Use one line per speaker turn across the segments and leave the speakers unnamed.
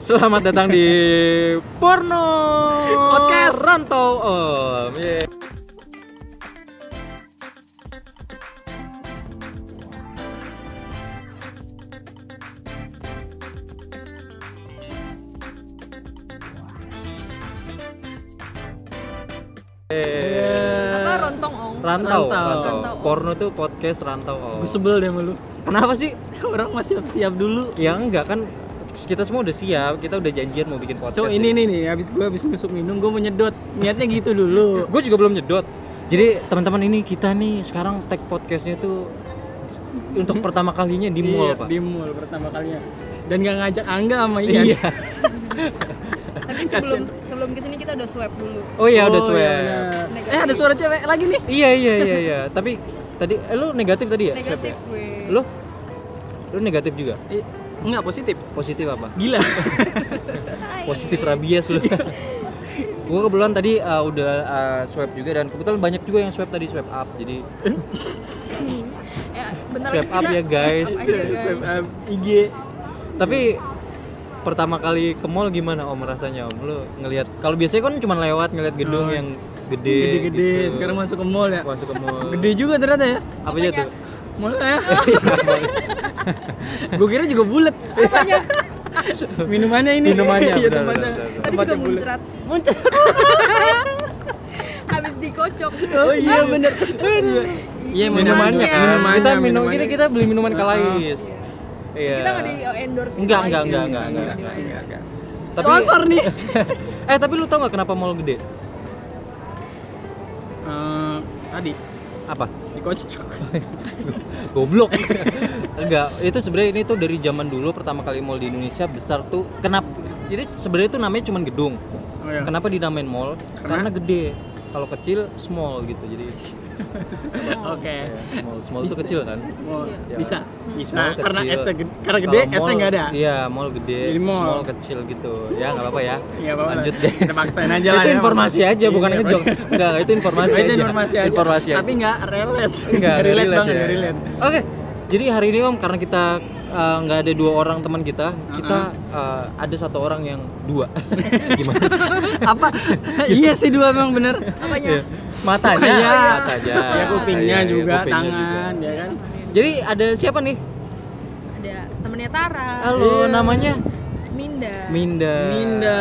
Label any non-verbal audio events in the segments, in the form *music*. Selamat datang di Porno
Podcast.
Rantau Om. Iya. Yeay.
apa rontong ong
Rantau,
Rantau.
rantau.
Rantau Om.
Porno tuh podcast rantau Om.
Gue sebel deh sama lu. *laughs*
Kenapa sih?
Orang masih siap-siap dulu.
Ya enggak kan kita semua udah siap, kita udah janjian mau bikin podcast.
Cok ini nih nih, habis gue habis nusuk minum, gue mau nyedot. Niatnya gitu dulu.
Gue juga belum nyedot. Jadi teman-teman ini kita nih sekarang tag podcastnya tuh untuk pertama kalinya *laughs* di mall
Iya,
pak.
Di mall pertama kalinya. Dan gak ngajak Angga sama Ian.
Iya.
tapi sebelum sebelum kesini kita udah swab dulu
Oh iya udah
Oh,
swab.
iya,
Negatif.
bener. Eh ada suara cewek lagi nih.
Iya iya iya iya. Tapi tadi eh, lu negatif tadi ya? swab
negatif
ya?
gue
Lu lu negatif juga.
Eh, Enggak positif.
Positif apa? *laughs*
Gila.
Hai.
Positif rabies *laughs* lu. gue kebetulan tadi uh, udah uh, swab juga dan kebetulan banyak juga yang swab tadi swab up jadi
ya, bentar
swab
lagi
up
kita
ya guys
swab up aja, guys.
Swab up, IG.
tapi pertama kali ke mall gimana om rasanya om lu ngelihat kalau biasanya kan cuma lewat ngelihat gedung
Oh.
yang gede
Gede-gede.
gitu.
Sekarang masuk ke mall ya.
masuk ke mall
Gede juga ternyata ya.
apa aja tuh
Mall ya.
*laughs* Iya.
gue kira juga bulat.
Apanya?
*laughs* Minumannya ini.
Minumannya,
Iya,
benar,
tempatnya.
benar, benar.
tadi
Tempatnya
juga
bulat.
muncrat
Muncrat.
habis dikocok
Oh iya
Ah,
bener. Iya. Iya
minumannya kan kita
Minumannya,
minum
minumannya.
kita kita beli minuman
Ah.
kalais iya
kita nggak di endorse
enggak enggak enggak enggak enggak enggak, enggak, enggak. tapi
Sponsor nih.
eh tapi lu tau nggak kenapa mall gede
*laughs* Eh, tadi
apa *laughs*
dikocok.
Oh, goblok enggak itu sebenarnya ini tuh dari zaman dulu pertama kali mall di Indonesia besar tuh kenapa jadi sebenarnya itu namanya cuman gedung
Oh iya.
Kenapa dinamain mall? Karena,
Karena-
gede. Kalau kecil small gitu. Jadi
*laughs* Oke.
ya, small small itu
Bisa.
kecil kan?
Mau-
Iya.
Bisa. Bisa.
Small
karena
kecil.
S-nya gede, karena gede
Kalau
S-nya
mall-
enggak ada.
Iya, mall gede,
Jadi mall.
small kecil gitu. Ya nggak apa-apa ya.
Iya, apa-apa. *laughs*
Lanjut deh.
Kita paksain aja lah.
itu
ya,
informasi
maksudnya.
aja, bukan
Iya,
ngejokes.
*laughs*
Enggak, itu informasi
Oh,
aja.
itu informasi aja.
Informasi aja.
Tapi enggak relate.
Enggak,
Nggak *laughs* relate banget,
ya.
nggak relate.
Oke. Jadi hari ini Om karena kita eh, nggak ada dua orang teman kita, kita eh, ada satu orang yang
*laughs*
dua. Gimana sih?
Apa? Iya sih dua emang bener.
apanya
Iya. Matanya,
Iya.
matanya.
Ya kupingnya
Iya, iya,
juga,
kupingnya
tangan, ya kan.
Jadi ada siapa nih?
ada temennya Tara
Halo,
Iya.
namanya
Minda
Minda.
Eh, Minda.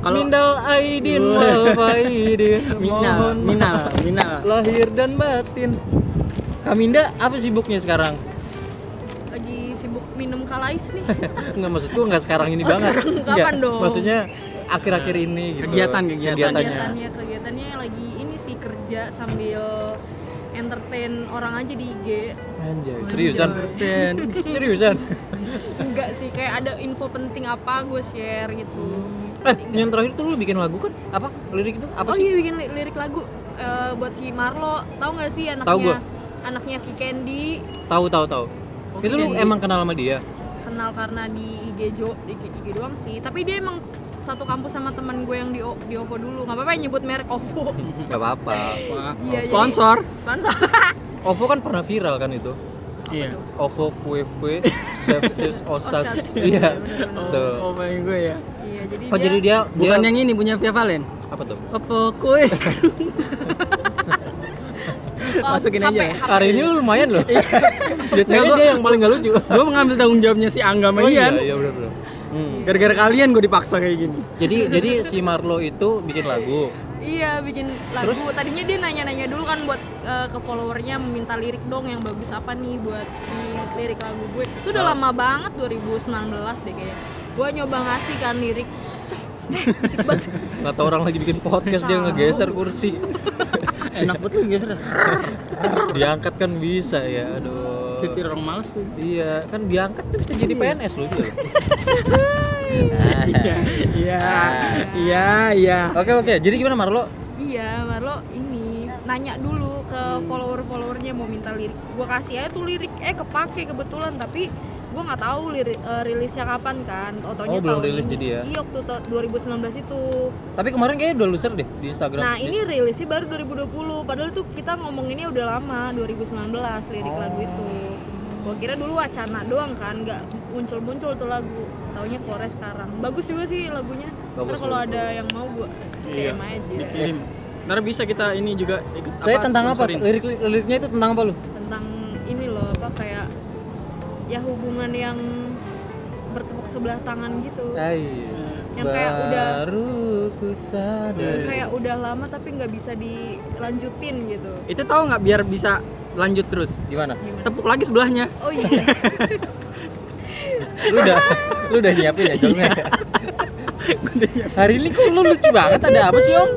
Kalau
Mindal Aidin
Wah.
wal Faidin.
*laughs* Minal,
Mohon
Minal,
maaf
Minal.
Lahir dan batin. Kak Minda apa sibuknya sekarang?
lagi sibuk minum kalais nih
Enggak maksud gua enggak sekarang ini
Oh,
banget.
sekarang
Nggak,
kapan dong?
Maksudnya akhir-akhir ini gitu.
Nah, Kegiatan, kegiatan.
*laughs* Kegiatannya.
kegiatannya kegiatannya lagi ini sih kerja sambil entertain orang aja di IG
Anjay,
*laughs*
seriusan.
Entertain.
Seriusan.
enggak sih kayak ada info penting apa gue share gitu
Eh, yang terakhir tuh lu bikin lagu kan? Apa? Lirik itu apa
oh
sih?
iya bikin li- lirik lagu eh, buat si Marlo tahu nggak sih anaknya
Tahu gua.
anaknya Ki Candy
Tahu tahu tahu.
Oke.
Itu lu emang kenal sama dia?
*laughs* kenal karena di IG Jo di IG, doang sih tapi dia emang satu kampus sama teman gue yang di, O- di OVO dulu nggak apa-apa nyebut merek
*laughs*
OVO
Gak apa-apa.
Wah,
Iya, jadi-
Sponsor.
sponsor
Oh, OVO kan pernah viral kan itu?
Iya.
OVO kue kue
*laughs*
sepsis
Oh,
osas.
Osas.
Iya.
Bener-bener.
Tuh.
Oh, oh my gue ya.
iya jadi
Oh
dia,
jadi dia
Bukan
dia
yang ini punya Via Valen.
apa tuh?
Apa *laughs* kue?
oh,
masukin
HP,
aja.
HP.
ya? Hari ini lu lumayan loh.
Iya.
*laughs* Biasanya dia
Nggak, gua-
yang paling gak lucu.
gue mengambil tanggung jawabnya si Angga sama
Oh iya,
Ian.
iya bener bener. Hmm.
Gara-gara kalian gue dipaksa kayak gini.
Jadi jadi si Marlo itu bikin lagu.
iya bikin lagu tadinya dia nanya-nanya dulu kan buat eh, ke followernya minta lirik dong yang bagus apa nih buat di lirik lagu gue itu
Ah.
udah lama banget 2019 deh kayaknya gue nyoba ngasih kan lirik eh bisik
*laughs*
banget
Gak tau orang lagi bikin podcast dia
Tahu.
ngegeser kursi.
Enak banget lu geser.
Diangkat kan bisa ya. Aduh.
Cetir orang males tuh.
Iya, kan diangkat tuh bisa jadi PNS lu juga.
Iya, *laughs* iya, iya, iya.
Oke oke, jadi gimana Marlo?
Iya, Marlo ini nanya dulu ke
Hmm.
follower-followernya mau minta lirik. Gua kasih aja tuh lirik eh kepake kebetulan tapi gua nggak tahu lirik eh, rilisnya kapan kan. Otonya
Oh, belum rilis jadi ya?
Iya, waktu ta- 2019 itu.
Tapi kemarin kayaknya udah loser deh di Instagram.
Nah,
Di-
ini rilisnya baru 2020. Padahal tuh kita ngomonginnya udah lama, 2019 lirik
Oh.
lagu itu. gua kira dulu wacana doang kan nggak muncul muncul tuh lagu taunya Kore sekarang bagus juga sih lagunya
Bagus,
ntar kalau
bagus,
ada yang mau gua
Iya.
DM aja
dikirim ntar bisa kita ini juga ikut
Tapi tentang apa?
sponsorin.
Lirik liriknya itu tentang apa lu?
tentang ini loh apa kayak ya hubungan yang bertepuk sebelah tangan gitu
Eh.
Yang kayak udah-
baru ku sadar.
Iya.
kayak udah lama tapi nggak bisa dilanjutin gitu
itu tahu nggak biar bisa lanjut terus
Gimana?
gimana
tepuk lagi sebelahnya
*laughs*
oh iya
Lu udah lu udah nyiapin ya jongnya? Hari ini kok lu lucu banget ada apa sih om?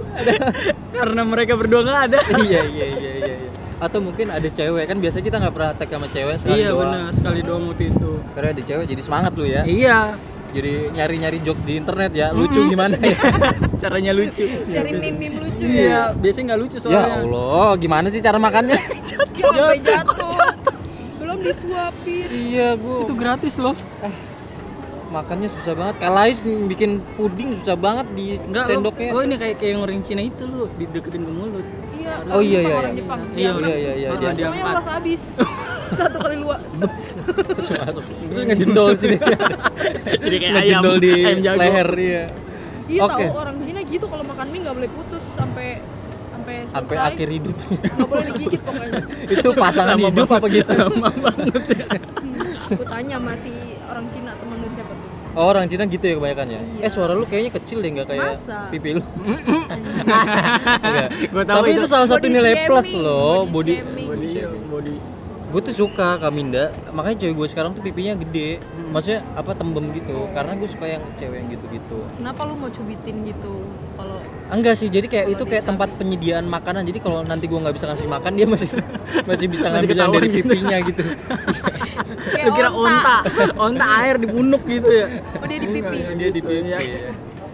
karena mereka berdua nggak ada
iya iya iya iya. iya. Atau mungkin ada cewek kan biasanya kita nggak pernah tag sama cewek sekali
iya
doang.
benar sekali doang waktu itu
Karena ada cewek jadi semangat lu ya.
*laughs* iya
Jadi nyari-nyari jokes di internet ya. Lucu
Mm-mm. *laughs* Iya,
gimana ya?
caranya lucu
cari meme meme lucu
iya
ya
biasanya nggak lucu
ya
soalnya
Allah, gimana sih cara
*laughs*
makannya?
ya sampai jatuh belum disuapin
iya, Bu.
itu gratis loh
makannya susah banget. Kalais bikin puding susah banget di
enggak
sendoknya. *laughs*
oh ini kayak kayak yang orang Cina itu lu dideketin ke mulut
iya
Oh, iya, iya,
orang
iya.
Jepang
Iya,
Diangkat.
iya iya iya
Ah,
dia
dia-
semuanya
Diangkat.
ulas
*laughs*
habis satu kali luas
terus masuk. Terus ngejendol sini.
*laughs* jadi *laughs* kayak ayam
ngejendol di
ayam jago
leher iya.
iya
Oke.
tahu orang Cina gitu kalau makan mie nggak boleh putus sampai sampai selesai
Sampai akhir hidup. *laughs*
nggak boleh digigit pokoknya
Itu pasangan
Lama
hidup apa gitu?
Hmm, aku tanya masih orang Cina temen lu siapa tuh
Oh, orang Cina gitu ya kebanyakan ya.
Iya.
Eh suara lu kayaknya kecil deh nggak kayak
Masa?
pipi lu. Nggak.
gue tahu
Tapi itu salah satu
Body
nilai plus
shaming,
loh
body
body. iya.
shaming.
body iya, body
Gue tuh suka Kaminda, makanya cewek gue sekarang tuh pipinya gede.
Hmm.
Maksudnya apa tembem gitu. Karena gue suka yang cewek yang gitu-gitu.
kenapa lu mau cubitin gitu kalau
Enggak sih, jadi kayak
Kalau
itu kayak
dicabik.
tempat penyediaan makanan. Jadi kalau nanti gua nggak bisa ngasih makan, dia masih masih bisa
Masih
ngambil yang
ketahuan
dari
gitu.
pipinya gitu.
kayak
lu kira onta *laughs* onta air dibunuk gitu ya
Oh, dia di pipi
Enggak, dia di pipi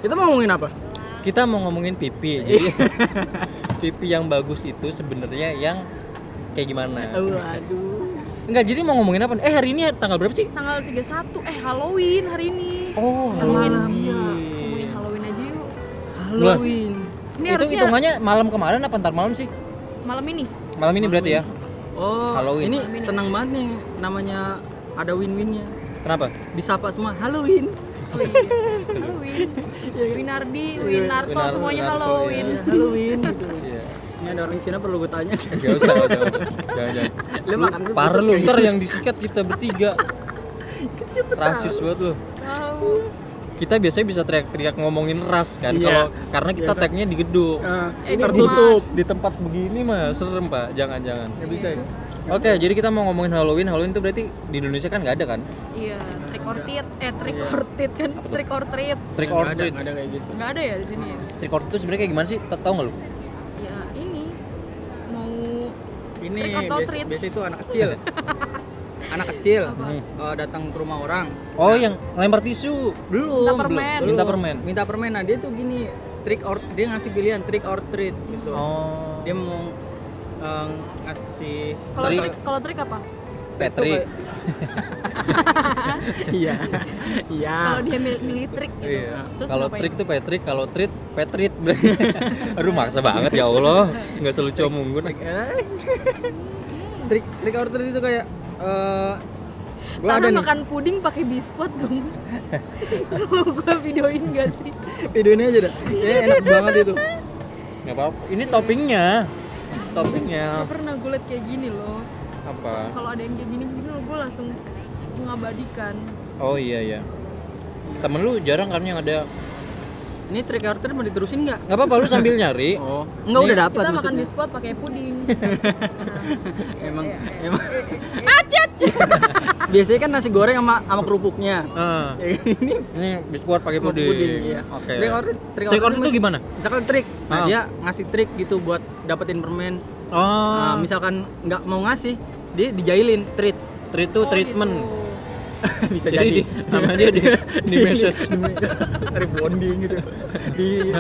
kita mau ngomongin apa
Kita mau ngomongin pipi. Jadi *laughs* pipi yang bagus itu sebenarnya yang kayak gimana?
aduh
Enggak, jadi mau ngomongin apa? nih? Eh, hari ini tanggal berapa sih?
tanggal 31 eh Halloween hari ini
Oh,
Ngomongin-
Iya, ngomongin Halloween aja yuk
Halloween
ini
itu
harusnya
hitungannya malam kemarin apa ntar malam sih?
malam ini
Malam ini berarti ya.
oh
Halloween.
ini
Halloween.
senang banget nih namanya ada win-winnya
Kenapa?
disapa semua Halloween
oh, iya.
*laughs*
Halloween
Iya kan?
Winardi Winarto
Winar-
semuanya
Winarto,
Halloween
iya.
Iya,
*laughs*
Halloween gitu
Iya.
ini ada orang Cina perlu gue tanya *laughs*
Gak Eh, usah, gak usah. gak usah. Jangan, jangan.
lu makan gue
Parah
putus
lu,
kayak
ntar ya. yang disikat kita bertiga.
gitu. Siapa
Rasis
tahu?
banget lu.
tahu
kita biasanya bisa teriak-teriak ngomongin ras kan
Iya.
kalau karena kita
Biasa.
tagnya di gedung
Eh,
Eh, di
tertutup
di tempat begini mah serem pak jangan-jangan
nggak bisa ya
oke jadi kita mau ngomongin Halloween Halloween itu berarti di Indonesia kan nggak ada kan
iya trick or treat eh trick or treat kan
Iya. Apa tuh?
trick or treat
trick or
Nggak ada,
treat
nggak ada kayak gitu
nggak ada ya di sini ya?
trick or treat itu sebenarnya kayak gimana sih Ta- tahu nggak lu Iya,
ya ini mau
ini
Trick or
biasa,
treat.
biasa itu anak
*laughs*
kecil anak kecil
Apa?
Hmm.
eh, datang ke rumah orang
oh yang lempar tisu
belum
Minta
belum,
permen.
belum.
Minta permen.
minta permen nah dia tuh gini trick or dia ngasih pilihan trick or treat gitu
oh
dia mau eh, ngasih
kalau
Trick.
trik kalau trik apa
Patrick
*laughs* iya iya
kalau dia mil- milih trik gitu
Ah. Iya.
terus
kalau
ngapain?
trik tuh Patrick kalau treat Patrick *laughs* aduh maksa banget ya Allah nggak selucu mungkin
Trick, eh. trick trick or treat itu kayak eh gue
Taruh
ada nih
makan puding pakai bispot
*laughs*
dong. Mau gua videoin gak sih?
video ini aja dah Kayaknya enak
*laughs*
banget itu
nggak apa ini toppingnya
Gak
toppingnya
pernah gue liat kayak gini loh.
apa
Kalau ada yang kayak gini gini loh, gue langsung mengabadikan.
oh iya iya temen lu jarang kan yang ada
ini trick or treat mau diterusin nggak
nggak apa-apa lu sambil
*laughs*
nyari
oh enggak
Ini-
udah dapat
Kita makan
maksudnya
bispot pakai
*laughs*
puding.
emang
Iya, iya.
emang *laughs*
*laughs* Oh,
biasanya kan nasi goreng sama sama *laughs* kerupuknya
Ah,
Ya, ini
ini biskuit pakai
Sama
puding.
puding, iya.
Oke.
trick or treat trick or
Trick or
treat
treat itu
mas-
gimana?
misalkan trik nah
Ah.
dia ngasih trik gitu buat dapetin permen
Oh,
Nah, misalkan nggak mau ngasih dia dijailin treat
treat itu
Oh,
treatment.
gitu.
*laughs* bisa
Jadi di, namanya di, di message.
rebonding gitu di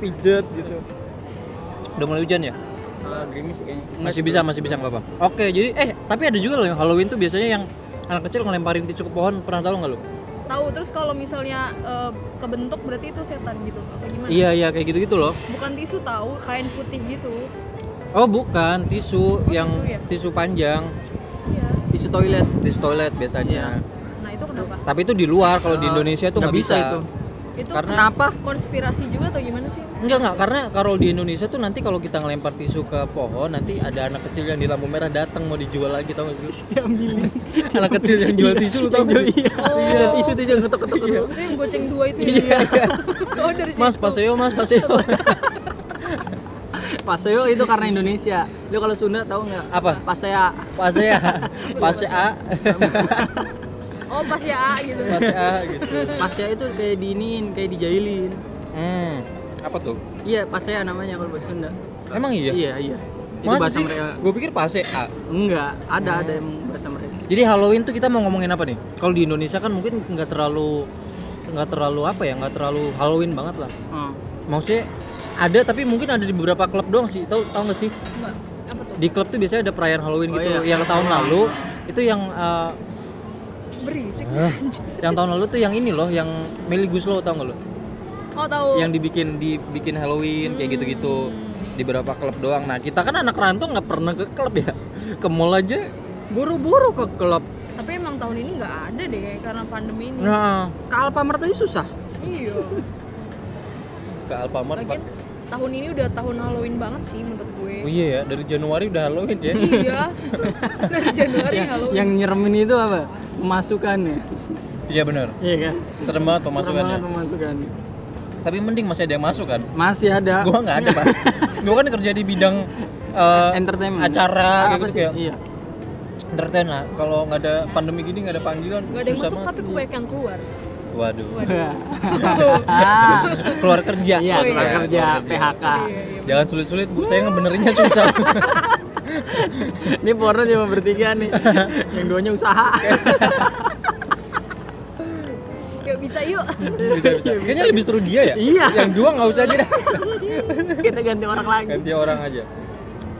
pijet gitu
Udah mulai hujan ya?
ah, gerimis kayaknya
Masih bisa, masih bisa nggak apa-apa. Oke, jadi eh tapi ada juga loh yang Halloween tuh biasanya yang anak kecil ngelemparin tisu ke pohon pernah tahu nggak lo?
Tahu terus kalau misalnya eh, kebentuk berarti itu setan gitu apa gimana?
Iya iya kayak gitu gitu loh.
Bukan tisu tahu, kain putih gitu.
Oh bukan tisu
Oh,
yang
tisu ya?
tisu panjang.
Iya.
tisu toilet
di toilet biasanya.
Nah itu kenapa?
Tapi itu di luar kalau di
Eh,
Indonesia tuh Iya. Ah, Oh, nggak bisa.
itu
Itu
Karena-
kenapa
konspirasi juga atau gimana
*laughs*
sih?
Enggak enggak karena kalau di Indonesia tuh nanti kalau kita ngelempar tisu ke pohon nanti ada anak kecil yang di lampu merah datang mau dijual lagi tau gak *laughs* sih? anak kecil yang jual tisu lu tau gak?
iya
Oh,
isu
itu
tuh jangan ketok ketok dulu
yang goceng dua itu ya? *laughs* Oh dari
Iya. Mas ya?
situ.
paseo, mas paseo. *laughs*
paseo itu karena Indonesia lu kalau Sunda tahu nggak
Apa?
pasea
Pasea. Pasea.
Oh pas ya A gitu.
Pasea gitu.
pasea itu kayak diinin kayak dijailin
Hmm. Apa tuh?
iya pasea namanya kalau bahasa Sunda
Emang iya?
iya iya itu
Masa
bahasa
sih?
mereka
Gue pikir pasea.
enggak ada
Hmm.
ada yang bahasa mereka
Jadi Halloween tuh kita mau ngomongin apa nih? Kalau di Indonesia kan mungkin nggak terlalu nggak terlalu apa ya nggak terlalu Halloween banget lah.
Hmm.
Maksudnya ada tapi mungkin ada di beberapa klub doang sih. Tahu tahu nggak sih?
Enggak. Apa tuh?
Di klub tuh biasanya ada perayaan Halloween
Oh,
gitu.
iya.
Yang tahun lalu itu yang eh,
Berisik.
yang tahun lalu tuh yang ini loh yang Meli Guslow tau nggak lo?
*laughs* Oh tahu.
Yang dibikin dibikin Halloween kayak gitu-gitu
Hmm.
di beberapa klub doang. Nah kita kan anak rantau nggak pernah ke klub ya. Ke mall aja
buru-buru ke klub
Tapi emang tahun ini nggak ada deh kayak karena pandemi ini.
nah
ke Alfamart aja susah
Iya.
ke Alfamart.
Lagian
Pak.
tahun ini udah tahun Halloween banget sih menurut gue.
Oh iya ya dari Januari udah Halloween
*laughs*
ya. *laughs*
iya. Dari Januari
Ya,
Halloween.
yang nyeremin itu apa pemasukannya
Iya benar.
iya kan
Serem banget
Serem
pemasukannya.
banget pemasukannya
Tapi mending masih ada yang masuk kan.
masih ada
Gua nggak ada pak. Gua kan kerja di bidang eh,
entertainment
acara kayak
apa
gitu
sih
kayak *laughs*
iya
entertain lah. Kalau nggak ada pandemi gini nggak ada panggilan.
Gak ada yang
susah
masuk
banget.
tapi kebanyakan yang
*laughs*
keluar.
Waduh.
Waduh.
Keluar kerja.
iya
maksudnya,
surat
iya.
kerja
keluar
PHK
Ah.
Iya, iya.
Jangan sulit-sulit bu. Saya ngebenerinnya susah.
ini porno cuma bertiga nih yang duanya usaha
Yuk bisa yuk.
*laughs* bisa, bisa. Kayaknya lebih seru dia ya.
Iya.
Yang dua nggak usah aja. dah.
kita *laughs* ganti orang lagi
Ganti orang aja.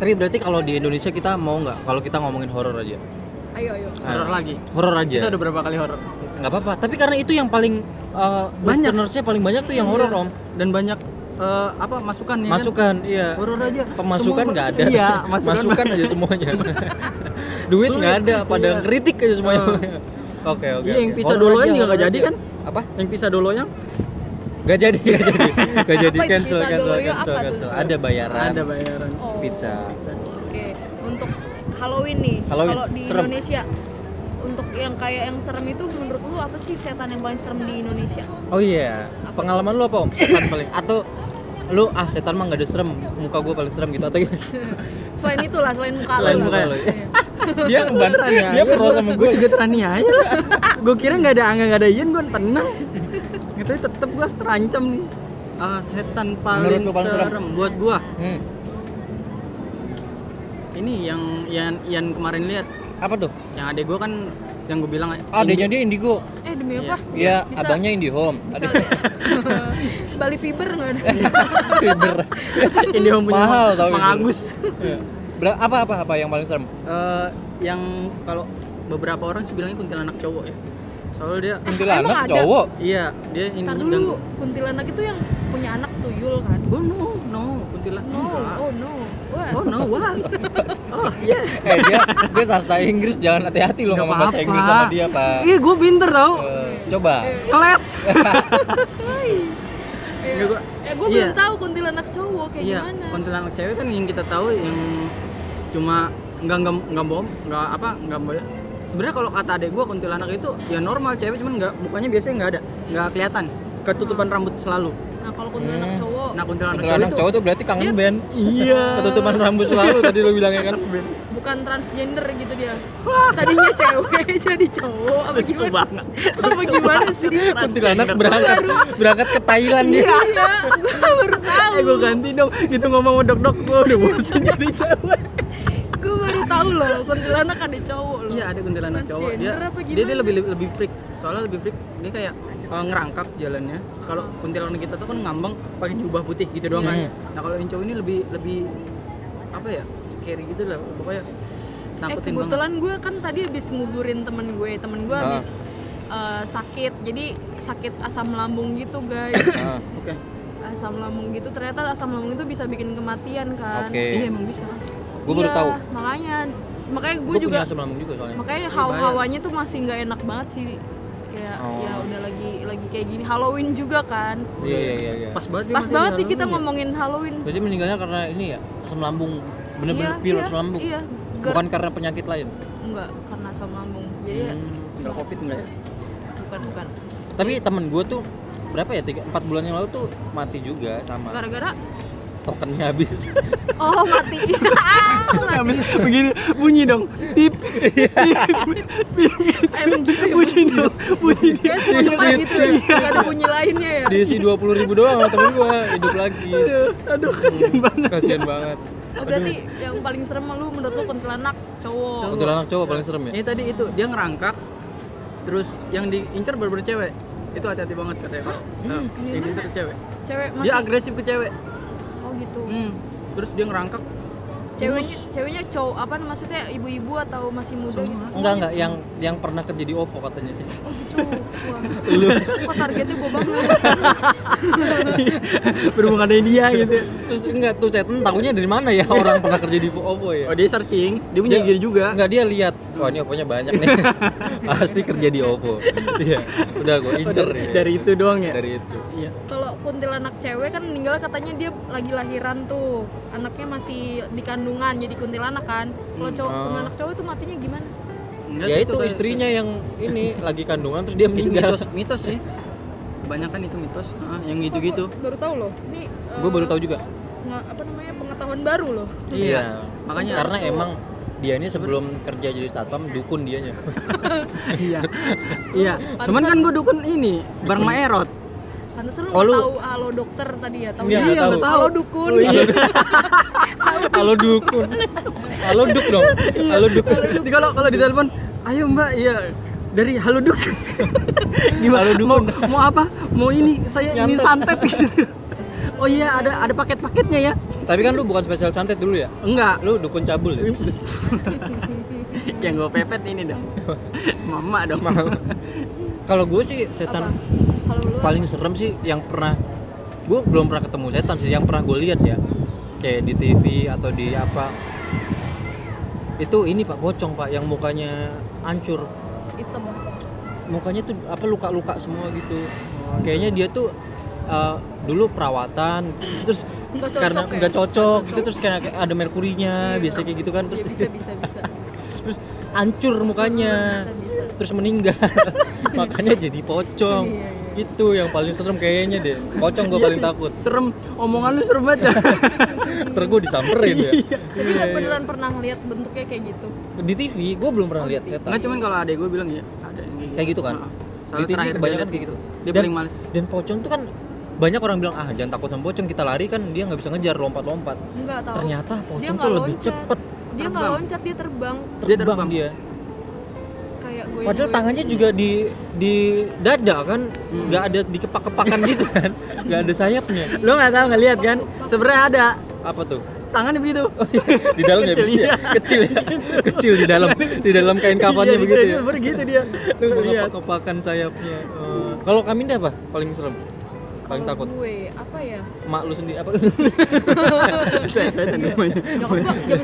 Tapi berarti kalau di Indonesia kita mau nggak? Kalau kita ngomongin horor aja.
Ayo ayo.
horor lagi
Horor aja.
kita udah berapa kali horor
nggak apa-apa tapi karena itu yang paling uh,
Banyak. Iya.
listenersnya paling banyak tuh yang horor om
dan banyak eh, apa masukan ya
masukan iya
kan? horor aja
pemasukan
Semua-
nggak ada *laughs*
iya masukan,
masukan aja
*laughs*
semuanya duit
Sulit.
nggak ada pada
Iya.
kritik aja semuanya
Oh.
*laughs* oke oke
Iya, yang
oke.
pisah
Horor aja,
dolonya juga nggak
horor
jadi
aja.
kan?
apa
yang pisah dolonya
nggak jadi nggak jadi
*laughs*
nggak jadi
Apa itu
cancel
pisah
cancel
dolonya?
cancel
Apa tuh?
cancel ada bayaran
ada bayaran
Oh.
pizza
Oke, untuk Halloween nih.
Halloween,
Kalau di
serem.
Indonesia untuk yang kayak yang serem itu menurut lu apa sih setan yang paling serem di Indonesia? *laughs*
oh iya
Apa?
pengalaman lu apa om setan paling atau lu ah setan mah nggak ada serem muka gua paling serem gitu atau gimana?
selain itu lah, selain muka
Selain
lu.
muka
lah.
lu, ya.
Iya.
*laughs* dia ngeban ya? dia pro sama
gue
gue
ya? juga teraniaya gue kira nggak ada angga nggak ada ian gue tenang gitu tetep gue terancam nih Ah, setan paling,
Menurut lu paling
serem.
serem?
buat gua
hmm.
ini yang Ian Ian kemarin lihat
apa tuh
yang adek gua kan yang gue bilang
ah dia
ini- *laughs*
jadi indigo
Eh demi apa?
Iya,
Bisa-
abangnya IndiHome.
Bisa,
Ada
*laughs* Bali Fiber nggak ada?
Eh,
fiber.
ini yang punya
Mahal tau itu.
pengagus
Iya. Ber- apa apa apa yang paling serem?
Eh, yang kalau beberapa orang sih bilangnya kuntilanak cowok ya soalnya dia
Ah, emang
Kuntilanak
ada?
cowok.
iya dia ini
Ntar
dan-
dulu, kuntilanak itu yang punya anak tuyul kan?
oh no no kuntilanak
No, oh no. Wah,
oh no *laughs* what oh yeah
Eh dia dia sastra Inggris jangan hati-hati loh
Nggak
ngomong bahasa
apa-apa.
Inggris sama dia, Pak.
Ih, gue pinter tau.
Eh, coba.
Iya.
Kelas.
Eh,
Nggak, gua-
eh gue
iya.
belum tahu kuntilanak cowok kayak
Iya,
gimana.
kuntilanak cewek kan yang kita tahu yang cuma nggak nggak nggak bohong, nggak apa nggak boleh. Sebenarnya kalau kata adek gue kuntilanak itu ya normal cewek cuman nggak mukanya biasanya nggak ada, nggak kelihatan. Ketutupan rambut selalu.
Nah kalau kuntilanak
Hmm.
cowok,
Nah kuntilanak,
Kuntilanak
cowok
cowok tuh berarti kangen band.
itu iya. *laughs*
Ketutupan rambut selalu tadi lo bilangnya kan.
bukan transgender gitu dia. Tadinya cewek *laughs* jadi cowok apa
Lucu
gimana?
banget.
Apa gimana sih?
Kuntilanak berangkat berangkat ke Thailand dia.
Iya, gue baru tahu.
Eh gue ganti dong, gitu ngomong sama dok-dok gue udah bosan jadi cewek.
Gue baru tahu loh, kuntilanak ada cowok loh.
Iya ada kuntilanak cowok dia
Transgender apa
dia, dia
gimana?
lebih lebih freak soalnya lebih freak dia kayak eh, ngerangkap jalannya kalau
Hmm.
kuntilanak kita tuh kan ngambang pakai jubah putih gitu doang kan
Hmm.
nah kalau yang cowok ini lebih lebih apa ya scary gitu lah pokoknya
Eh
nakutin banget
kebetulan gue kan tadi habis nguburin temen gue, temen gue
Ah.
habis eh, sakit, jadi sakit asam lambung gitu
*laughs*
guys.
Ah,
oke
asam lambung gitu
Iya.
ternyata asam lambung itu bisa bikin kematian
Ah,
kan.
Oke.
iya emang bisa
Gue baru
Iya,
tahu.
Makanya makanya gue
Gua
juga
punya asam lambung juga soalnya
makanya
Iya,
hawa hawanya tuh masih nggak enak banget sih kayak
Oh.
ya udah lagi lagi kayak gini Halloween juga kan
iya iya iya iya
Pas banget dia
pas
mati
banget
di
nih kita
dalam ya.
ngomongin Halloween
berarti meninggalnya karena ini ya asam lambung bener-bener
Iya,
pure
iya,
asam lambung
iya ger
bukan karena penyakit lain
enggak karena asam lambung jadi ya-
Hmm.
Nggak covid nggak ya?
bukan bukan
tapi temen gue tuh berapa ya tiga empat bulan yang lalu tuh mati juga sama
gara-gara
tokennya
*laughs*
habis
oh mati *laughs* Ah, mati.
ya. Begini bunyi dong. Tip.
emang gitu ya
Bunyi dong. Bunyi dong.
Kayak semua tempat gitu ya nggak ada bunyi lainnya ya
diisi dua puluh ribu doang sama temen gue hidup lagi
Aduh kasihan banget.
kasian banget
oh, berarti yang paling serem lu menurut lu kuntilanak cowok
Cowok.
untuk anak cowok paling serem ya
Ini tadi itu dia ngerangkak terus yang diincar berber cewek. Itu hati-hati banget katanya kalau
Hmm.
eh, yang diincar cewek.
cewek
Dia
masih
agresif ke cewek.
oh gitu
Hmm. Terus dia ngerangkak *laughs*
ceweknya ceweknya cowok apa maksudnya ibu-ibu atau masih muda gitu
Semua.
enggak enggak yang yang pernah kerja di OVO katanya
oh gitu
*laughs*
wah
lu
kok targetnya gue banget
berhubungan dengan dia gitu.
terus enggak tuh saya tahunya dari mana ya orang pernah kerja di OVO ya
Oh dia searching, dia punya
Dia-
gini juga.
Enggak dia lihat, wah ini oponya banyak
*laughs*
nih. Pasti kerja di opo. Iya, udah gua
Oh,
incer
dari,
nih.
dari itu doang ya.
dari itu.
Iya.
kalau kuntilanak cewek kan meninggal katanya dia lagi lahiran tuh anaknya masih di kandungan jadi kuntilanak kan kalau
Hmm.
cowok
Oh.
kuntilanak cowok itu matinya gimana
Enggak
Ya
sih,
itu
kayak-
istrinya yang ini lagi kandungan terus dia
itu
meninggal.
mitos mitos sih kebanyakan itu mitos Ah, yang
Kok
gitu-gitu
gua baru tahu loh ini
gitu.
eh,
Gua baru tahu juga. Iya.
apa namanya pengetahuan baru loh
Iya. makanya
Karena emang dia ini sebelum kerja jadi satpam dukun dianya.
iya iya
Pantesan-
cuman kan gue dukun ini bareng
Dukun.
Maerot
pantesan lu
Oh,
nggak
lu-
tahu halo dokter tadi ya tahu
Iya,
ya?
nggak tahu.
nggak
halo dukun
Oh, iya.
*laughs* Halo dukun. Halo duk dong.
Iya.
Halo duk.
Jadi kalau kalau ditelepon ayo mbak iya dari halo duk
*laughs*
gimana
Halo
mau mau apa mau ini saya ingin
Nyantet.
santet gitu oh iya ada ada paket paketnya ya
Tapi kan lu bukan spesial santet dulu ya?
enggak
Lu dukun cabul ya?
Iya. yang gue pepet ini dong mama dong
Kalau gue sih setan
Apa? Kalau lu
paling serem sih yang pernah gue belum pernah ketemu setan sih yang pernah gue lihat ya kayak di TV atau di apa itu ini pak pocong pak yang mukanya hancur
hitam
mukanya tuh apa luka-luka semua gitu
Oh,
kayaknya
iya.
dia tuh eh, dulu perawatan terus
Nggak cocok
karena
ya?
nggak cocok
Nggak
gitu
cocok.
terus kayak kayak ada merkurinya
Iya.
biasanya kayak gitu kan terus
Iya,
*laughs*
bisa bisa bisa
hancur mukanya
bisa bisa
terus meninggal makanya jadi pocong
Iya, iya.
itu yang paling serem kayaknya deh pocong gue
Iya
paling
sih.
takut
serem omongan lu serem
*laughs*
banget ya
Ntar gue disamperin ya
Tapi nggak beneran pernah lihat bentuknya kayak gitu.
Di TV gue belum pernah
Oh,
lihat
di TV.
setan
Enggak cuman kalau adek gue bilang ya ada yang
Kayak gitu kan?
Heeh.
Di
Soalnya
TV
terakhir dia
kebanyakan
liat
kayak gitu
Dia
Dan-
paling males.
Dan pocong tuh kan banyak orang bilang ah jangan takut sama pocong kita lari kan dia nggak bisa ngejar lompat-lompat
Enggak tahu.
ternyata pocong
nggak
tuh lebih
loncat.
cepet
dia nggak
terbang.
loncat, dia terbang
terbang
Dia
dia,
terbang.
kayak gue.
padahal tangannya juga di di dada kan
Hmm.
nggak ada di kepak-kepakan gitu kan nggak ada sayapnya
Lu enggak tahu enggak lihat kan? Sebenarnya ada
apa tuh
tangannya begitu.
di dalam ya
Kecil,
Bi?
iya.
kecil ya? kecil di dalam di dalam kain kafannya
Iya, di
begitu ya
trailer begitu dia. Lu nggak lihat.
kepak-kepakan sayapnya Eh, kalau kami apa paling serem paling takut
gitu. Gue apa ya?
mak lu sendiri apa *laughs*
Saya saya tadi namanya.
Nyokap gue jam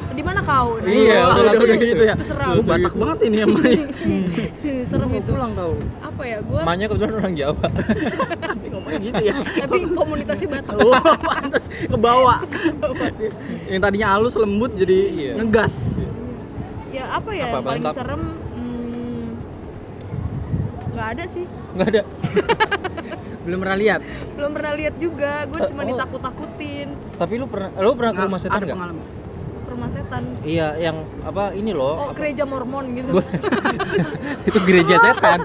10 di mana kau? Nah,
Iya,
itu-
udah
langsung
langsung Iya,
kayak
gitu
gitu.
ya.
Itu seram.
Gue batak banget ini yang main. *laughs*
Serem
Mau
itu.
Pulang tau.
Apa ya? Gue
maknya kebetulan orang Jawa
Tapi ngomongnya gitu ya. *laughs*
tapi komunitasnya Batak.
Oh, pantas kebawa. yang tadinya halus lembut jadi
Iya.
ngegas.
Ya apa ya?
Apa,
yang paling
Batak?
serem hmm, nggak ada sih.
nggak ada
Belum pernah lihat.
Belum pernah lihat juga. Gue
Oh.
cuma ditakut-takutin
tapi lu pernah lu pernah
Ah,
ke rumah setan
Ada
nggak
pengalaman.
ke rumah setan.
iya yang apa ini loh
Oh,
apa-
gereja Mormon gitu.
Gua- *laughs* itu
*laughs*
gereja setan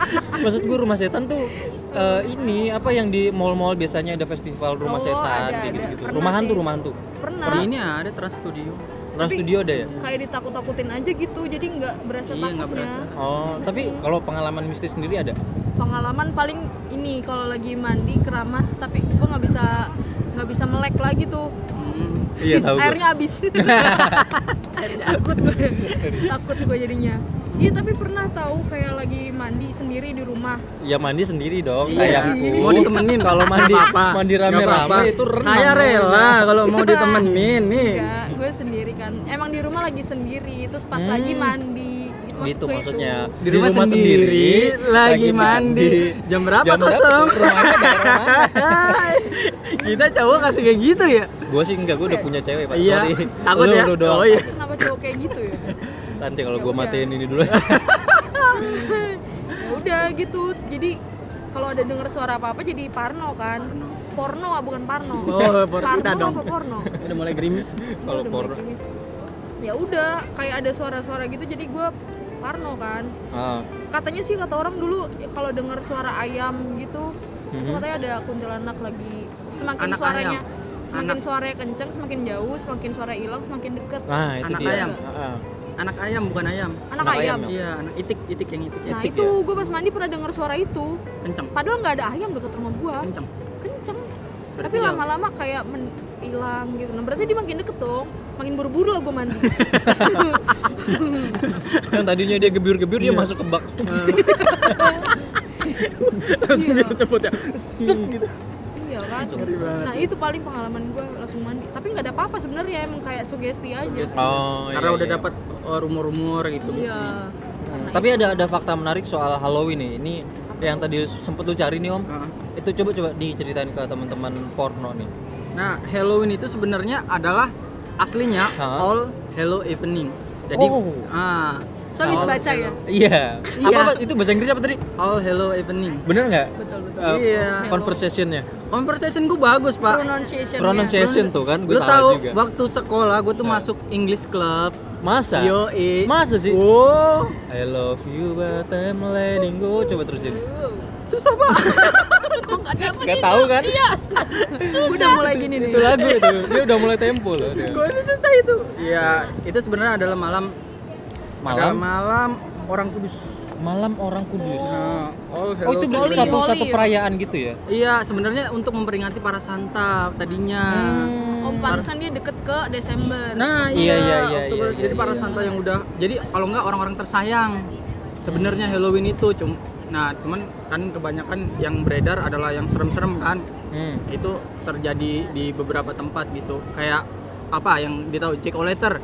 maksud gue rumah setan tuh eh, ini apa yang di mall-mall biasanya ada festival rumah
Oh,
setan kayak
ada, ada.
gitu-gitu
Pernah
rumah hantu
sih.
rumah hantu
Pernah.
Di ini ada Trans Studio.
trans
Tapi-
studio ada ya
kayak ditakut-takutin aja gitu jadi nggak berasa
Iya, nggak
takutnya
berasa.
oh tapi
Mm-mm.
kalau pengalaman mistis sendiri ada
pengalaman paling ini kalau lagi mandi keramas tapi gua nggak bisa nggak bisa melek lagi tuh
Hmm.
iya tahu
airnya habis takut gue takut gue jadinya iya tapi pernah tahu kayak lagi mandi sendiri di rumah
ya mandi sendiri dong sayangku
Iya, sendiri. Mau ditemenin,
kalau mandi
nggak apa-apa.
mandi
Nggak apa-apa.
rame-rame itu renang
Saya rela kalau mau
Iya.
ditemenin nih.
enggak gue sendiri kan emang di rumah lagi sendiri terus pas
Hmm.
lagi mandi
gitu
gitu, maksud gue
maksudnya
itu.
Di rumah, sendiri, lagi mandi. Jam berapa
Jam berapa
kosong?
tuh? Rumahnya daerah mana?
*laughs* Kita cowok kasih kayak gitu ya?
gue sih enggak gue udah punya cewek pak
Iya.
sorry
Takut
Lu
ya?
udah doang.
Oh iya.
kenapa cowok kayak gitu ya
nanti kalau
Ya
gue
udah.
matiin ini dulu
ya udah gitu jadi kalau ada denger suara apa apa jadi parno kan porno ah bukan parno
Oh, porno kita dong.
apa porno
Udah mulai gerimis.
*laughs* Kalau
Udah mulai
porno.
gerimis. ya udah kayak ada suara-suara gitu jadi gue parno kan
ah.
katanya sih kata orang dulu ya, kalau dengar suara ayam gitu itu
mhm.
katanya ada kuntilanak lagi semakin
Anak
suaranya
ayam.
semakin
Anak.
suaranya kenceng semakin jauh semakin suara hilang semakin deket
nah itu
Anak
dia
ayam.
Ah, ah.
Anak ayam bukan ayam.
anak,
Anak
ayam,
ayam ya?
Iya, anak itik, itik yang itik ya.
nah
Etik
itu gue pas mandi pernah dengar suara itu
Kenceng,
padahal nggak ada ayam deket rumah gue
kenceng.
kenceng
Berarti
tapi
ya-
lama-lama kayak men- hilang gitu nah berarti dia makin deket dong makin buru-buru lah gue
*laughs*
mandi
yang Kan tadinya dia gebir-gebir dia
Iya.
masuk ke
*laughs*
bak
Langsung
Iya.
dia cepet ya. Suk gitu.
iya kan
Langsung.
Ngeri banget.
nah itu paling pengalaman gue langsung mandi tapi nggak ada apa-apa sebenarnya emang kayak sugesti aja
Sugesti.
oh
Karena
iya,
udah
iya.
dapat oh, rumor-rumor gitu. biasanya.
iya
Hmm, tapi ada ada fakta menarik soal Halloween nih ini yang tadi sempet lu cari nih om
Heeh.
itu coba coba diceritain ke teman-teman porno nih
Nah, Halloween itu sebenarnya adalah aslinya
Hah?
All Hello Evening. Jadi
Oh.
ah,
so
Soal-
bisa baca ya
iya
Iya.
apa, apa- itu bahasa Inggris apa tadi
All Hello Evening.
bener nggak
betul betul
Eh,
Iya.
conversationnya
Conversation gue bagus, Pak.
pronunciation
pronunciation tuh kan gue
Lu
salah
tahu
juga
waktu sekolah gue tuh
Nah.
masuk English Club.
masa
Yoi.
masa sih
Wow,
I love you but I'm letting go coba terusin
susah
*laughs*
banget.
nggak tahu kan
Iya.
udah mulai gini nih
itu lagu itu dia udah mulai tempo loh dia.
Gue ini susah itu. Iya, itu sebenarnya adalah malam adalah
malam
malam orang kudus.
malam orang kudus
Nah,
oh
all
itu
Holy-
satu satu
Holy.
perayaan gitu ya
Iya, sebenarnya untuk memperingati para santa tadinya.
Hmm.
om pantesan dia deket ke Desember
Nah,
Iya,
iya,
iya, iya,
Oktober.
iya,
jadi
iya,
para
iya.
santa yang udah jadi kalau nggak orang-orang tersayang. Sebenarnya Halloween itu cum nah cuman kan kebanyakan yang beredar adalah yang serem-serem kan.
Hmm.
Itu terjadi di beberapa tempat gitu. Kayak apa yang dia tahu Jack O'Lantern,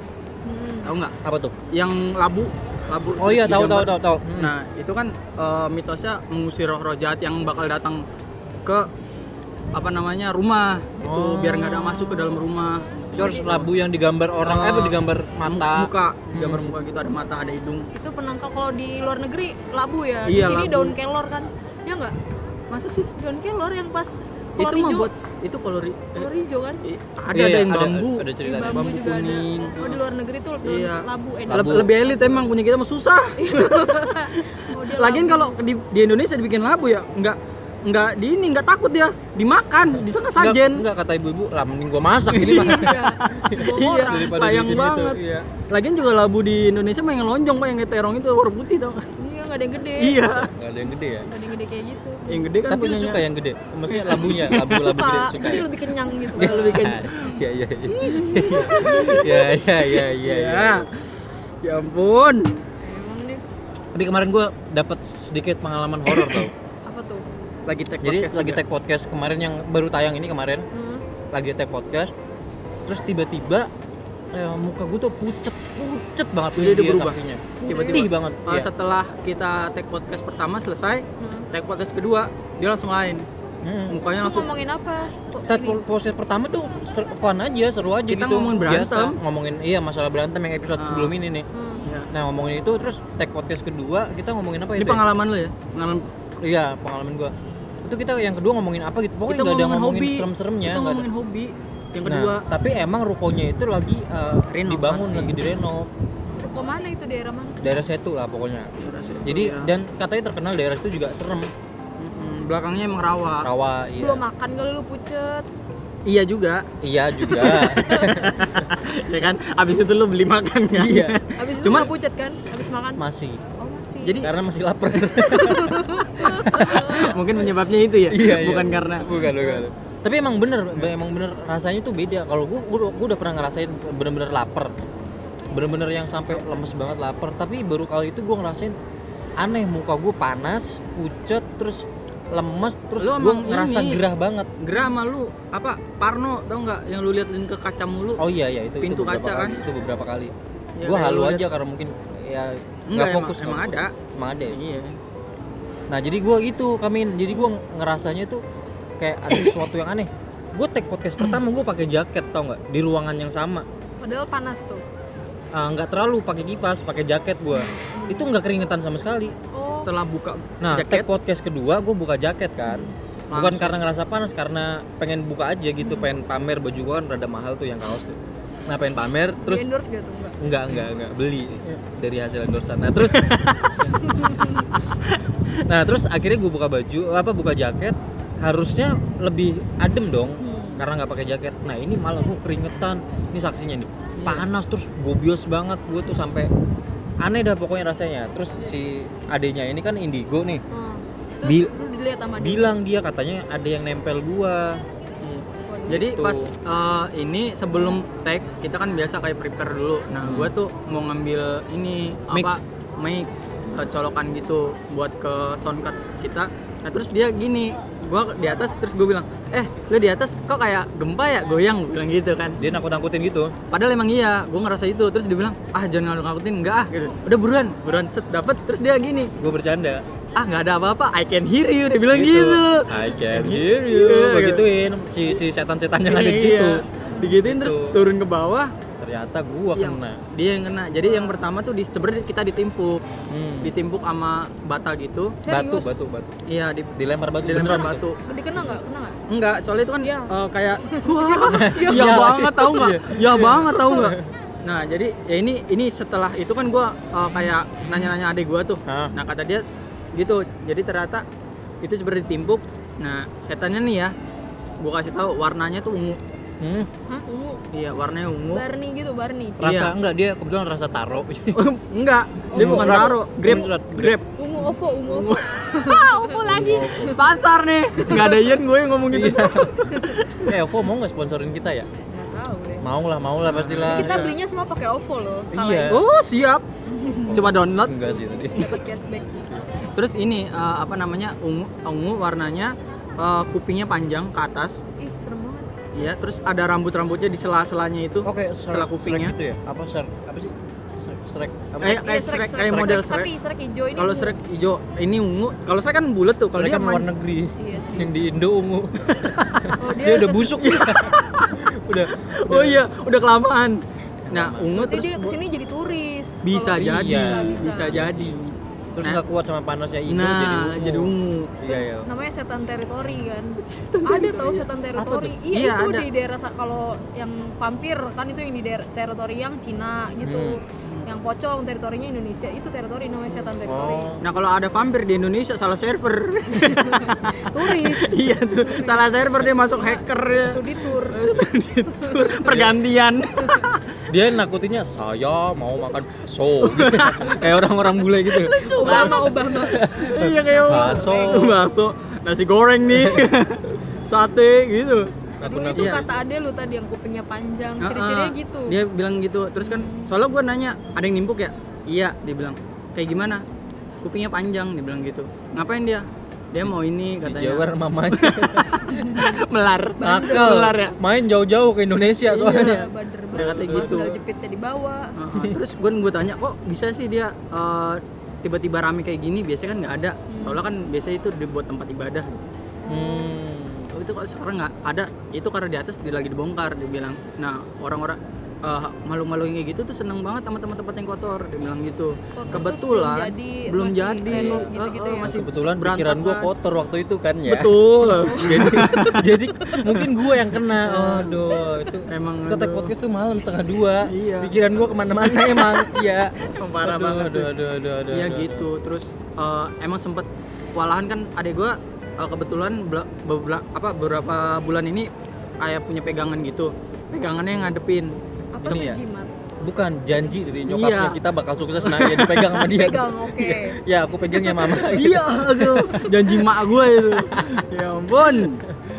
Hmm.
tahu nggak?
apa tuh
Yang labu, labu.
oh
terus
iya tahu tahu
digambar.
tahu tahu Hmm.
Nah, itu kan eh, mitosnya mengusir roh-roh jahat yang bakal datang ke apa namanya rumah itu
Oh.
biar nggak ada masuk ke dalam rumah.
itu harus labu yang digambar orang eh, apa digambar mata
Ah. muka,
Hmm.
gambar muka gitu ada mata, ada hidung.
itu penangkal kalau di luar negeri labu ya
Iya,
di sini
labu.
daun kelor kan ya nggak
Masa sih?
daun kelor yang pas
Itu
kolor
mah
hijau
buat itu kolor i- eh,
kolor hijau kan
i- ada
Iya,
ada
iya,
yang bambu.
ada cerita
Yang
bambu
bambu juga ada.
kuning.
oh di luar negeri tuh daun
Iya.
labu eh *laughs*
Labu.
Leb- Lebih elit emang punya kita mah susah.
oh,
Iya,
dia
Lagian
labu.
kalau di, di Indonesia dibikin labu ya nggak nggak di ini nggak takut ya dimakan di sana
Enggak,
sajen
enggak kata ibu-ibu lah mending gua masak ini mah
iya di bawah
*laughs* Iya.
orang
daripada
sayang
bikin
banget.
gitu. iya.
lagian juga labu di Indonesia mah yang lonjong mah yang terong itu warna putih tau
iya nggak ada yang gede
iya
Gak ada yang gede ya
nggak ada yang gede kayak gitu
yang gede kan
tapi lu
punyanya.
suka ya? yang gede maksudnya labunya labu labu
suka
gede suka
jadi
ya?
lebih kenyang gitu
*laughs* Iya, lebih kenyang.
ya ya ya
iya,
ya ya ya ya
ya ya ampun
emang deh
tapi kemarin gua dapat sedikit pengalaman horor
*coughs*
tau
apa tuh
lagi tag
jadi
podcast
lagi
juga.
tag podcast kemarin yang baru tayang ini kemarin
hmm.
lagi tag podcast terus tiba-tiba eh, muka gue tuh pucet pucet banget
Jadi dia berubah?
saksinya
Tiba-tiba.
putih banget
Uh,
Iya.
setelah kita tag podcast pertama selesai
hmm.
tag podcast kedua dia langsung lain
Mm.
Itu
mukanya langsung
ngomongin apa Kok
Tet-
ini?
proses pertama tuh ser- fun aja seru aja
Kita
gitu.
ngomongin
Biasa,
berantem.
ngomongin iya masalah berantem yang episode
Ah.
sebelum ini nih
Hmm.
ya.
nah ngomongin itu terus tag podcast kedua kita ngomongin apa
ini
itu ya?
pengalaman lo ya pengalaman
iya pengalaman gua itu kita yang kedua ngomongin apa gitu pokoknya
Kita
nggak ada
ngomongin
ngomongin
hobi.
serem-seremnya
kita
nggak ada
ngomongin hobi yang
Nah,
kedua
tapi emang rukonya itu lagi eh,
Renovasi.
dibangun lagi direnov
Kok mana itu daerah mana
daerah setu lah pokoknya jadi
Ya.
dan katanya terkenal daerah itu juga serem
Mm-mm, belakangnya emang rawa
rawa iya
belum makan kali lu pucet
iya juga *laughs*
iya juga
ya kan abis itu lo beli makan kan
iya
abis itu
Cuman-
nggak pucet kan abis makan
masih
oh masih
Jadi-
karena masih lapar
*laughs* mungkin penyebabnya itu ya
Iya, iya.
bukan karena
bukan bukan tapi emang bener emang bener rasanya tuh beda kalau gua, gua gua udah pernah ngerasain bener-bener lapar bener-bener yang sampai lemes banget lapar tapi baru kali itu gue ngerasain aneh muka gue panas pucet terus lemes terus
Lu
gue
emang
ngerasa
ini.
gerah banget
gerah sama lu apa Parno tau nggak yang lu liatin ke kaca mulu
oh iya iya itu
Pintu
itu beberapa
kaca,
kali,
kan?
itu beberapa kali gue
Ya, kayak
halu
lu liat-
aja karena mungkin ya
Enggak,
nggak
emang-
fokus,
emang,
nggak
ada
emang ada ya.
iya
Nah jadi gua gitu Kamin, jadi gua ngerasanya tuh kayak ada sesuatu yang aneh. Gue take podcast pertama gua pakai jaket tau nggak di ruangan yang sama.
padahal panas tuh
Ah, Nggak terlalu pakai kipas, pakai jaket gua Itu nggak keringetan sama sekali.
oh
setelah buka
Nah
Jaket?
take podcast kedua gua buka jaket kan. Bukan
langsung.
karena ngerasa panas, karena pengen buka aja gitu,
Hmm.
pengen pamer baju gua kan rada mahal tuh yang kaos tuh. Nah pengen pamer, terus
terus endorse gitu
*laughs* nggak
enggak
nggak nggak beli
Iya.
dari hasil endorsean. Nah terus nah terus akhirnya gue buka baju apa buka jaket harusnya lebih adem dong
Hmm.
karena nggak pakai jaket nah ini malah gue keringetan ini saksinya nih
Iya.
panas terus gobios banget gue tuh sampai aneh dah pokoknya rasanya terus si adenya ini kan indigo nih
Hmm.
Bil-
terus lu dilihat sama dia
bilang dia katanya ada yang nempel gua
Iya.
Waduh.
Jadi
Gitu.
pas eh, ini sebelum tag kita kan biasa kayak prepare dulu. Nah,
Hmm.
gua tuh mau ngambil ini
Mic.
apa mic eh, colokan gitu buat ke sound card kita. Nah, terus dia gini, gua di atas terus gue bilang, "Eh, lu di atas kok kayak gempa ya, goyang." Gua bilang gitu kan.
dia nakut nakutin gitu
Padahal emang iya, gua ngerasa itu. Terus dia bilang, "Ah, jangan ngakutin, enggak ah." Gitu. Udah buruan, buruan set dapet terus dia gini,
gue bercanda
"Ah, nggak ada apa-apa, I can hear you." Dia bilang gitu.
I can hear you
Iya.
begituin si si setan setan yang ada di
Iya.
situ
Digituin terus
Gitu.
turun ke bawah,
ternyata gua
Iya.
kena
dia yang kena jadi yang pertama tuh di, sebenarnya kita ditimpuk
Hmm.
ditimpuk sama bata gitu
batu
Serius?
batu batu
iya di
dilempar batu
dilempar
beneran gitu.
batu
dikena nggak kena nggak
enggak soalnya itu kan
Iya.
eh, kayak *laughs* wah
Iya.
ya banget tahu nggak ya banget tahu
*laughs*
nggak nah jadi ya ini ini setelah itu kan gua eh, kayak nanya-nanya adik gua tuh
Hah?
nah kata dia gitu jadi ternyata itu sebenarnya ditimpuk nah setannya nih ya gua kasih tahu warnanya tuh ungu
Hmm?
Hah? ungu
iya warnanya ungu
Barney gitu Barney
rasa
Iya.
enggak dia kebetulan rasa taro
*laughs* enggak dia
Ungu.
bukan
Grape.
taro grape
Ungu.
grape
ungu OVO ungu OVO
Opo lagi sponsor nih. Nggak ada Ian gue yang ngomong gitu.
Iya. eh Ovo mau nggak sponsorin kita ya
nggak tahu deh
mau lah mau lah pastilah
kita belinya semua pakai OVO loh kalau
Iya.
Oh, siap. Coba download.
enggak sih tadi
dapat cashback
Terus ini eh, apa namanya? Ungu, ungu warnanya eh, kupingnya panjang ke atas.
ih serem banget
Iya, terus ada rambut-rambutnya di sela-selanya itu.
oke
Setelah kupingnya.
gitu ya apa ser apa sih Shrek, Shrek, apa
Kayak
Iya,
kayak
Shrek,
Shrek,
Shrek,
kayak
Shrek.
model
tapi
Shrek.
Shrek hijau ini
Kalau
ungu.
Shrek hijau, ini ungu. Kalau Shrek kan bulat tuh. Kalau
Shrek
dia
kan luar
man-
negeri
iya sih
yang di Indo ungu
oh,
dia udah busuk *laughs*
udah Oh iya, udah kelamaan. Nah,
Kelamaan.
ungu
berarti
terus
dia kesini jadi turis
bisa
Kalau-
jadi,
Iya.
bisa, jadi.
terus nggak kuat sama panasnya Indo
Nah,
jadi ungu
jadi ungu.
iya iya
namanya setan teritori kan ada tau setan teritori iya
Iya,
itu
ada.
di daerah sa- kalau yang vampir kan itu yang di daerah teritori yang Cina gitu
Hmm.
yang pocong teritorinya Indonesia itu teritori namanya setan
oh
teritori
Nah, kalau ada vampir di Indonesia salah server. *laughs*
turis
iya tuh salah server dia masuk hacker ya
itu di tour
*laughs* pergantian
dia nakutinnya saya mau makan so kayak orang-orang bule gitu
Obama Obama
iya kayak
Bakso.
bakso nasi goreng
*laughs*
nih sate gitu
Aduh,
nakut-nakut
itu
Iya.
kata ade lu tadi yang kupingnya panjang
Ah,
ciri-cirinya
ah.
gitu
dia bilang gitu terus kan soalnya gue nanya ada yang nimpuk ya iya dia bilang kayak gimana kupingnya panjang dia bilang gitu ngapain dia dia mau ini katanya
dijewer mamanya
*laughs* melar
nakal
melar ya
main jauh-jauh ke Indonesia soalnya
Iya, bader
Dia kata
banget
gitu.
Sandal jepitnya dibawa
Heeh, Ah, terus gue gue tanya kok bisa sih dia eh, tiba-tiba rame kayak gini biasanya kan nggak ada
Hmm.
soalnya kan biasanya itu dibuat tempat ibadah
hmm.
Oh, itu kok sekarang nggak ada itu karena di atas dia lagi dibongkar dia bilang nah orang-orang eh, malu-malu yang kayak gitu tuh seneng banget sama tempat-tempat yang kotor dia bilang gitu
Foto tuh
Kebetulan,
sebelum
belum
jadi masih
jadi
renov
Eh,
gitu-gitu
eh,
ya
masih
kebetulan pikiran gua
berantakan.
kotor waktu itu kan ya
betul
jadi *laughs* jadi mungkin gua yang kena
Iya.
aduh itu
emang
kita take
aduh,
podcast tuh malam setengah dua
Iya.
pikiran gua kemana-mana emang iya
emang
aduh,
parah banget
aduh,
sih.
aduh, aduh, aduh,
iya
aduh,
gitu terus eh, emang sempet kewalahan kan adek gua eh, kebetulan beberapa apa beberapa bulan ini kayak punya pegangan gitu pegangannya ngadepin
Ini
apa tuh
ya?
jimat
bukan janji dari nyokapnya
Iya.
kita bakal sukses nah ya dipegang sama dia
pegang oke
ya aku pegang ya mama
*laughs* iya aduh janji mak gue itu ya ampun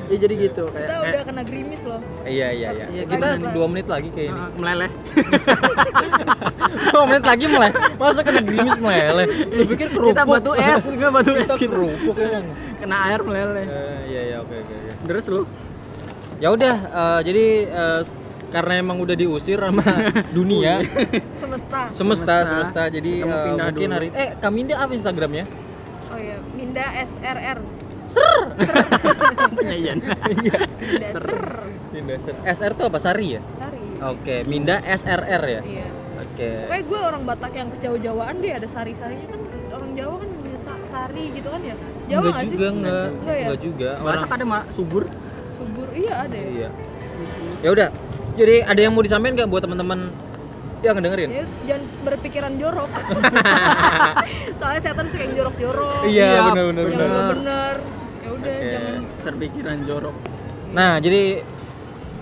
ya jadi gitu kayak,
kita
kayak
udah kena gerimis loh
iya iya iya
Iya,
kita
gitu.
dua menit lagi kayak ini
uh, meleleh
*laughs* dua menit lagi mulai masa kena gerimis meleleh lu pikir kerupuk
*laughs* kita batu es enggak batu
*laughs*
es
kita
gitu.
kerupuk
*laughs*
emang
kena air meleleh
Eh, iya iya oke oke oke
terus lu
ya udah eh, jadi eh, s- karena emang udah diusir *laughs* sama
*laughs*
dunia
semesta
Iya. semesta
Semesta.
semesta jadi
Kita mau
eh,
pindah
mungkin
dulu.
hari eh Kaminda apa Instagramnya
oh iya Minda SRR
penyanyian
Minda Ser
Minda Ser- SR tuh apa Sari ya
Sari
oke Minda SRR ya
iya
oke
Pokoknya gue orang Batak yang kejauh-jauhan deh ada sari-sarinya kan orang Jawa kan punya sa- sari gitu kan ya. Jawa
enggak
nggak sih?
juga enggak
Enggak ya?
enggak juga orang
Batak kan ada mak subur
Subur iya ada. ya.
iya ya udah jadi ada yang mau disampaikan nggak buat teman-teman yang ngedengerin
Ya, jangan berpikiran
*laughs*
jorok. Soalnya setan suka yang jorok-jorok.
iya
Iya,
benar benar
Yang
bener.
benar
bener. bener. Ya udah
Oke.
jangan.
terpikiran jorok
Nah, jadi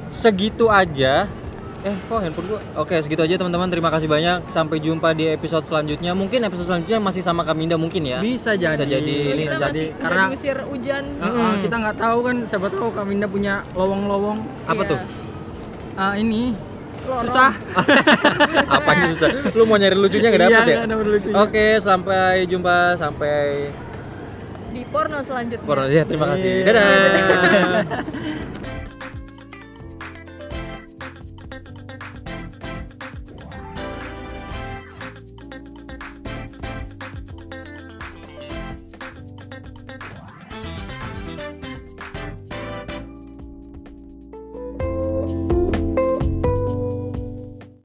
segitu aja. Eh, kok handphone gua? Oke, segitu aja teman-teman. Terima kasih banyak. Sampai jumpa di episode selanjutnya. Mungkin episode selanjutnya masih sama Kaminda mungkin ya. *laughs*
bisa jadi
jadi, ini
jadi
kita masih
karena
karena ngusir hujan.
Uh, uh,
Mm-mm.
kita nggak tahu kan siapa tahu Kaminda punya lowong-lowong
Apa
Iya.
tuh?
Ah, ini
Lorong.
susah
Apanya susah? Lu mau nyari lucunya nggak dapet ya?
Iya, nggak dapet lucunya.
Oke, sampai jumpa sampai Iya,
Di porno selanjutnya.
Korea. Terima kasih.
Iya.
Dadah.